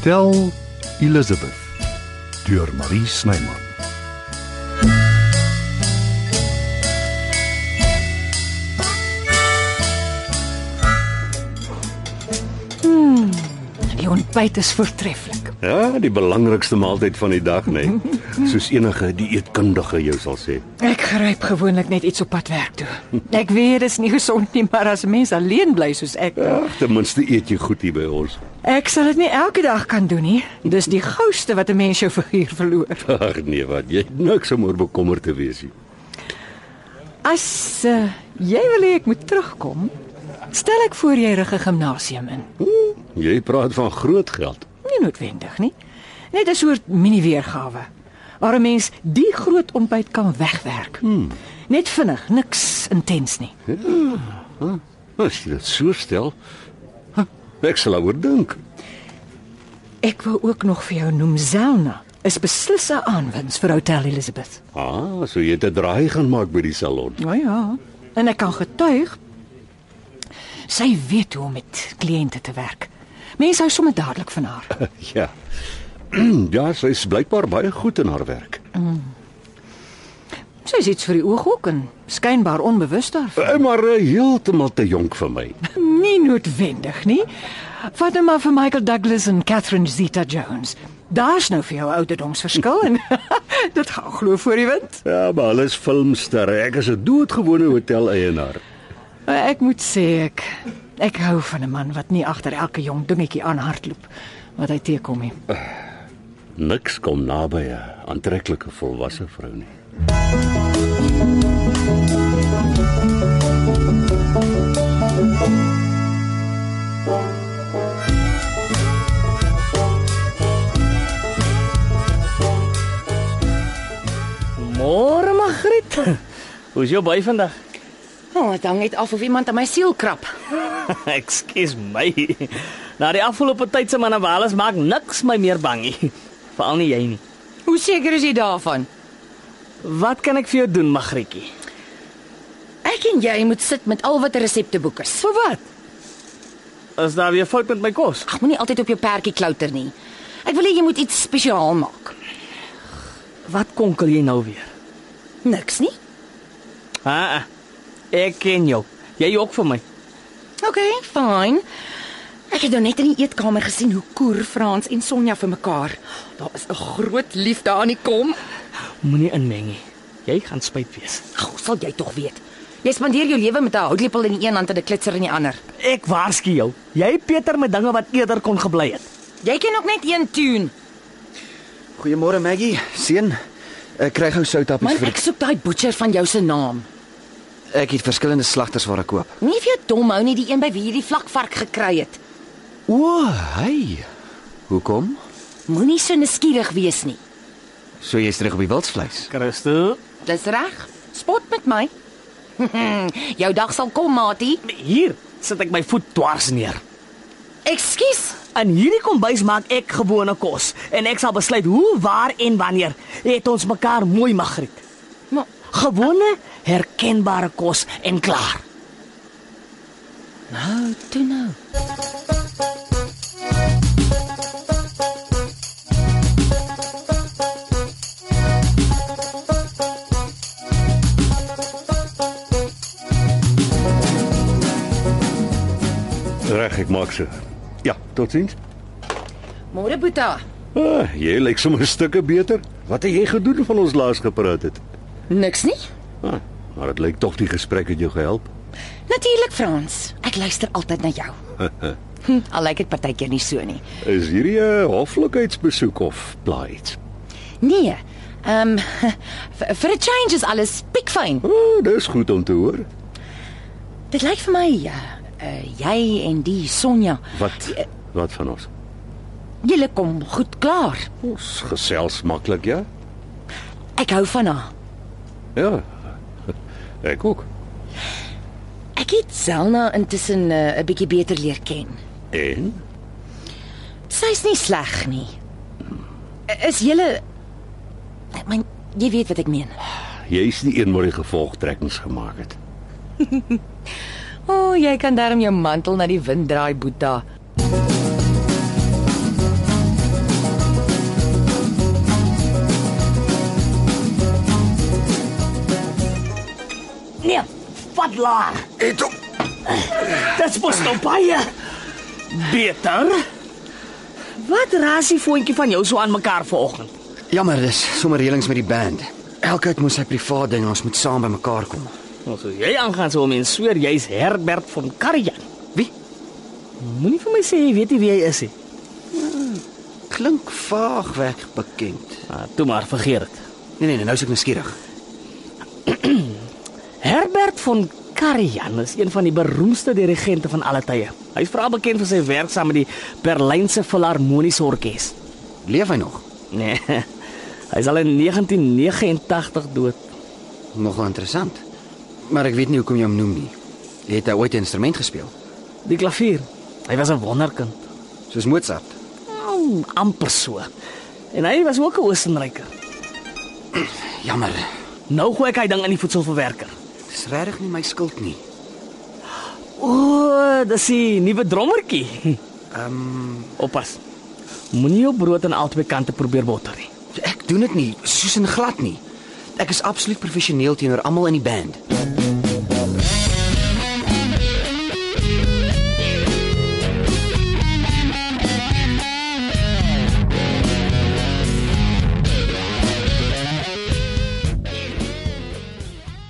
Stel Elizabeth deur Marie Snyman. Die ontbyt is voortreffelik. Ja, die belangrikste maaltyd van die dag, nê. Nee. Soos enige dieetkundige jou sal sê. Ek gryp gewoonlik net iets op pad werk toe. Ek weet dit is nie gesond nie, maar as 'n mens alleen bly soos ek, Ag, ten minste eet jy goed hier by ons. ek sal dit nie elke dag kan doen nie. Dis die gouste wat 'n mens jou figuur verloor. Ag nee, wat jy het niks om oor bekommerd te wees nie. As uh, jy wil hê ek moet terugkom, stel ek voor jy rig 'n gimnasium in. Hm, jy praat van groot geld. Nie noodwendig nie. Net 'n soort mini-weergawe waar 'n mens die groot ontbyt kan wegwerk. Hmm. Net vinnig, niks intens nie. As jy dit so stel, huh, ek sal daaroor dink. Ek wou ook nog vir jou noem Zelna. Is beslis 'n aanwins vir Hotel Elizabeth. Ah, so jy het 'n draai gaan maak by die salon. Ja ja. En ek kan getuig sy weet hoe om met kliënte te werk. Mense hou sommer dadelik van haar. Ja. Ja, sy is blykbaar baie goed in haar werk. Sy is iets vir die oog ook en skynbaar onbewus daarvan. Eh, Maar eh, heeltemal te jonk vir my. Nie noodwendig nie. Vat nou maar vir Michael Douglas en Catherine Zeta-Jones. Daar's nou vir jou ouderdomsverskil en dit gaan glo voor die wind. Ja, maar hulle is filmsterre. Ek is 'n doodgewone hoteleienaar. Maar Eh, Ek moet sê ek ek hou van 'n man wat nie agter elke jong dingetjie aanhardloop wat hy teekom nie. Niks kom naby 'n aantreklike volwasse vrou nie. Môre Magriet. Hoe's jou by vandag? Oh, dit hang net af of iemand aan my siel krap. Ekskuus my. Na die afgelope tyd se manne alles maak niks my meer bang nie. Veral nie jy nie. Hoe seker is jy daarvan? Wat kan ek vir jou doen, Magrietjie? Ek en jy moet sit met al wat 'n resepteboek is. Vir wat? As daar weer fout met my kos. Ag, moenie altyd op jou perdjie klouter nie. Ek wil hê jy moet iets spesiaal maak. Wat konkel jy nou weer? Niks nie. Ha. ah. Ek ken jou. Jy ook vir my. OK, fyn. Ek het nou net in die eetkamer gesien hoe koer Frans en Sonja vir mekaar. Daar is 'n groot liefde aan die kom. Moenie inmeng nie. Jy gaan spyt wees. Ag, hoe sal jy tog weet. Jy spandeer jou lewe met 'n houtlepel in die een hand en 'n klitser in die ander. Ek waarsku jou. Jy Peter met dinge wat eerder kon gebly het. Jy ken ook net een tune. Goeiemôre Maggie, seun. Ek kry gou soutappies Man, vir ek soek daai butcher van jou se naam. ek het verskillende slagters waar ek koop. Nie vir jou dom hou nie die een by wie jy die vlakvark gekry het. O, hey. Hoekom? Moenie so nuuskierig wees nie. So jy's terug op die wildsvleis. Christo, Dis reg. Spot met my. Jou dag sal kom, Matie. hier sit ek my voet dwars neer. Ekskuus. In hierdie kombuis maak ek gewone kos en ek sal besluit hoe, waar en wanneer het ons mekaar mooi magriet. Maar Gewone, herkenbare kos en klaar. nou, toe nou. Reg, ek maak so. Ja, totiens. Môre Boeta. Ah, jy lyk sommer stukke beter. Wat het jy gedoen van ons laas gepraat het? Niks nie? Ah, maar dit lyk tog die gesprek het jou gehelp. Natuurlik, Frans. Ek luister altyd na jou. Hm, Al lyk dit partykeer nie so nie. Is hierdie 'n hoflikheidsbesoek of plaai iets? Nee. Ehm um, vir vir 'n change is alles piekfyn. Ah, dis goed om te hoor. Dit lyk vir my ja, uh, jy en die Sonja, Wat wat van ons? julle kom goed klaar. Ons gesels maklik, ja? Ek hou van haar. Ja. Ek ook. Ek het Zelna intussen eh, 'n bietjie beter leer ken. En Sy's nie sleg nie. Eh, Is julle Ek meen, jy weet wat ek meen. jy's nie een wat die gevolgtrekkings gemaak het. O, oh, jy kan darm jou mantel na die wind draai, Boeta. Nee, padlaar. Het hom. Dit's mos nou baie beter. Wat raas die foontjie van jou so aan mekaar vanoggend? Jammer, Ja, dis sommer reëlings met die band. Elke ou moet sy privaat ding, ons moet saam by mekaar kom. Ons sê jy aangaan so mense sweer jy's Herbert van Karajan. Wie? Moenie vir my sê jy weet nie wie hy is nie. Klink vaag weg bekend. Ah, toe maar vergeet dit. Nee nee, nee, nou is ek nuuskierig. Herbert van Karajan is een van die beroemdste dirigente van alle tye. Hy is veral bekend vir sy werk saam met die Berlynse Filharmoniese Orkees. Leef hy nog? Nee. Hy is al in 1989 dood. Nogal interessant. Maar ek weet nie hoekom jy hom noem nie. Het hy ooit 'n instrument gespeel? Die klavier. Hy was 'n wonderkind. Soos Mozart. Oh, amper so. En hy was ook 'n Oostenryker. Jammer. Nou gooi ek hy ding in die voedselverwerker. Ja, Dis regtig nie my skuld nie. O, dis die nuwe drommertjie. Ehm, um... oppas. Moenie jou brood aan albei kante probeer botter nie. Ek doen dit nie, soos en glad nie. Ek is absoluut professioneel teenoor almal in die band.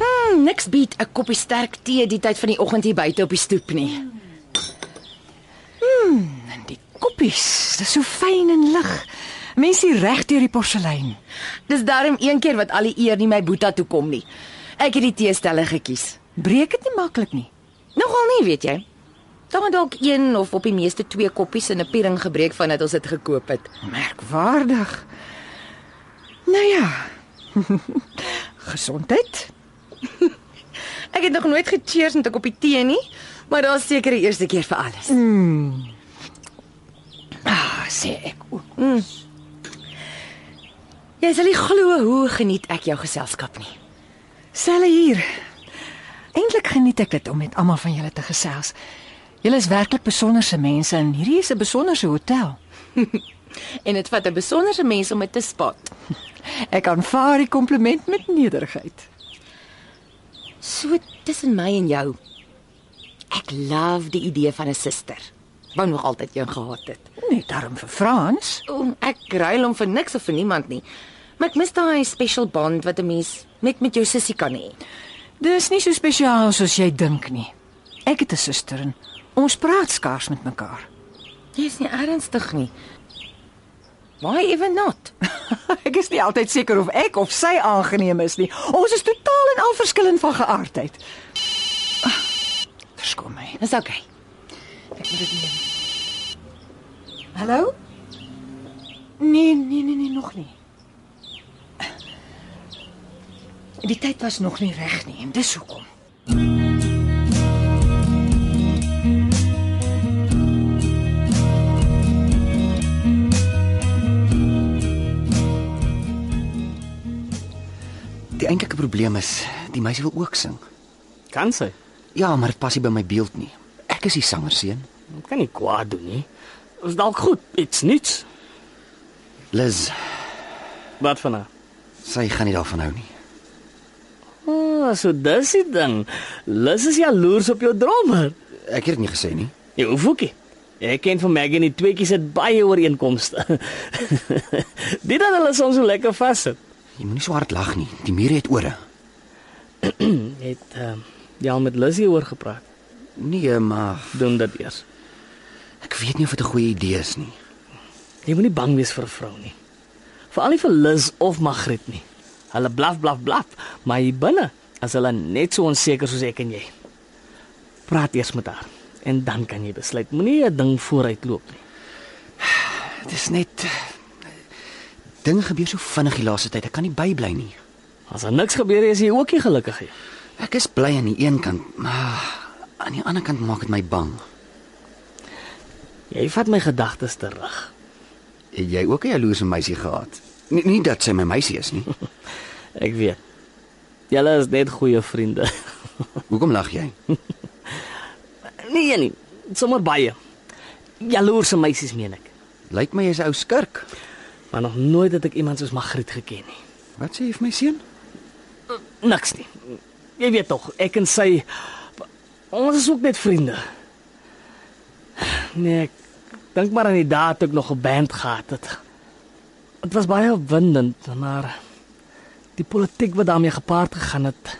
Hmm, niks bied 'n koppie sterk tee die tyd van die oggend hier buite op die stoep nie. Hmm, En die koppies, dis so fyn en lig. Mense hier reg deur die porselein. Dis darm een keer wat al die eer nie my Boeta toe kom nie. Ek het die teestelle gekies. Breek dit nie maklik nie. Nogal nie, weet jy. Daar het dalk een of op die meeste twee koppies in 'n piering gebreek vandat ons dit gekoop het. Merkwaardig. Nou ja. Gesondheid. Ek het nog nooit gecheers met 'n koppie tee nie, maar daar's seker die eerste keer vir alles. Hmm. Ah, sê ek. O, Hmm. Jy sal nie glo hoe geniet ek jou geselskap nie. Selle hier. Eintlik geniet ek dit om met almal van julle te gesels. Julle is werklik besonderse mense en hierdie is 'n besonderse hotel. En dit vat 'n besonderse mens om dit te spot. Ek aanvaar die kompliment met nederigheid. So tussen my en jou. Ek love die idee van 'n suster. Wou nog altyd jou gehad het. Net daarom vir Frans. O, ek ruil hom vir niks of vir niemand nie. Maar ek mis daai special bond wat 'n mens net met jou sussie kan hê. Dis nie so spesiaal soos jy dink nie. Ek het 'n suster en ons praat skaars met mekaar. Jy is nie ernstig nie. Why even not? Ek is nie altyd seker of ek of sy aangeneem is nie. Ons is totaal en al verskillend van geaardheid. Ah, Verskoon my. Dis okay. Hallo? Nee, nee, nee, nee, nog nie. Die tyd was nog nie reg nie en dis hoekom. Die eintlike probleem is, die meisie wil ook sing. Kan sy? Ja, maar dit pas nie by my beeld nie. Ek is die sanger seun. Dit kan nie kwaad doen nie. Is dalk goed, iets niets. Liz, Wat van haar? sy gaan nie daarvan hou nie. Ah, so dis die ding. Lus is jaloers op jou drummer. Ek het dit nie gesê nie. Jou voetjie. Ek ken van Maggie en die tweeetjies het baie ooreenkomste. Dit dan hulle soms so lekker vassit. Jy moenie so hard lag nie. Die mure het ore. Het ehm uh, ja met Lusie oor gepraat. Nee, maar Doen dit eers. ek weet nie of dit 'n goeie idee is nie. Jy moenie bang wees vir 'n vrou nie. Veral nie vir Lus of Magriet nie. Hulle blaf blaf blaf, maar hier binne is hulle net so onseker soos ek en jy. Praat eers met haar en dan kan jy besluit. Moenie 'n ding vooruit loop nie. Dit is net dinge gebeur so vinnig die laaste tyd. Ek kan nie bybly nie. As daar niks gebeur nie, is jy ook nie gelukkig nie. Ek is bly aan die een kant, maar aan die ander kant maak dit my bang. Jy vat my gedagtes terug. Het jy ook 'n jaloerse meisie gehad? Nie, nie dat sy my meisie is nie. Ek weet. Julle is net goeie vriende. Hoekom lag jy? Nee nee, sommer baie. Jaloerse meisies meen ek. Lyk my jy's 'n ou skurk. Maar nog nooit het ek iemand soos Magriet geken nie. Wat sê jy vir my seun? Niks nie. Jy weet tog, ek en sy ons is ook net vriende. Nee, ek dink maar aan die dae toe ek nog 'n band gehad het. Dit was baie opwindend, maar die politiek wat daarmee gepaard gegaan het,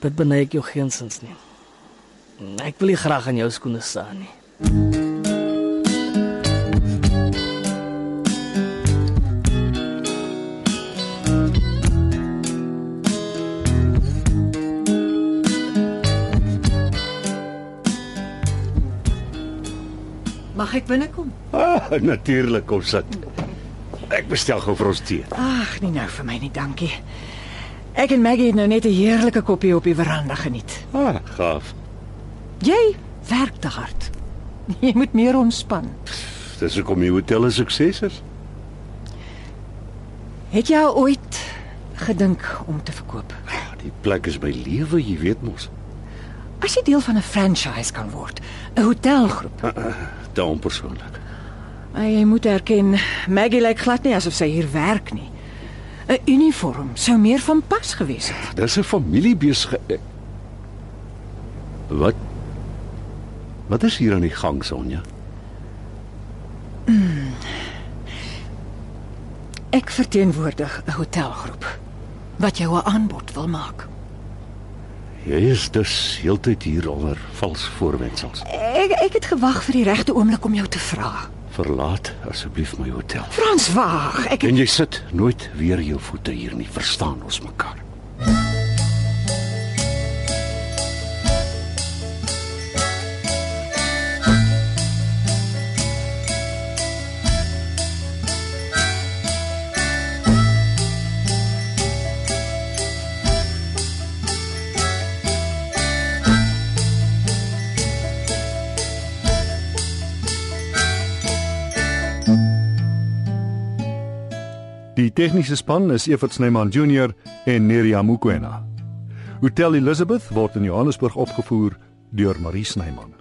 dit beny ek jou geensins nie. Ek wil nie graag in jou skoene staan nie. Mag ek binnekom? Ah, natuurlik kom sit. Ek bestel gou vir ons tee. Ag, nie nou vir my nie, dankie. Ek en Maggie het nou net 'n heerlike koppie op die veranda geniet. Ah, gaaf. Jy werk te hard. Jy moet meer ontspan. Dis hoekom die hotel 'n sukses is. Het jy al ooit gedink om te verkoop? Ja, Die plek is my lewe, jy weet mos. As jy deel van 'n franchise kan word, 'n hotelgroep. Te onpersoonlik. Maar jy moet erken, Maggie lyk glad nie asof sy hier werk nie. 'n Uniform sou meer van pas gewees het. Dis 'n familiebesigheid. Wat? Wat is hier aan die gang, Sonja? Ek verteenwoordig 'n hotelgroep wat jou 'n aanbod wil maak. Jy is dus heeltyd hier onder vals voorwendsels. Ek ek het gewag vir die regte oomblik om jou te vra. Verlaat asseblief my hotel. Frans, wag. Ek En jy sit nooit weer jou voete hier nie. Verstaan ons mekaar? Die tegniese span is Evert Snyman Junior en Neriya Mukwena. Hotel Elizabeth word in Johannesburg opgevoer deur Marie Snyman.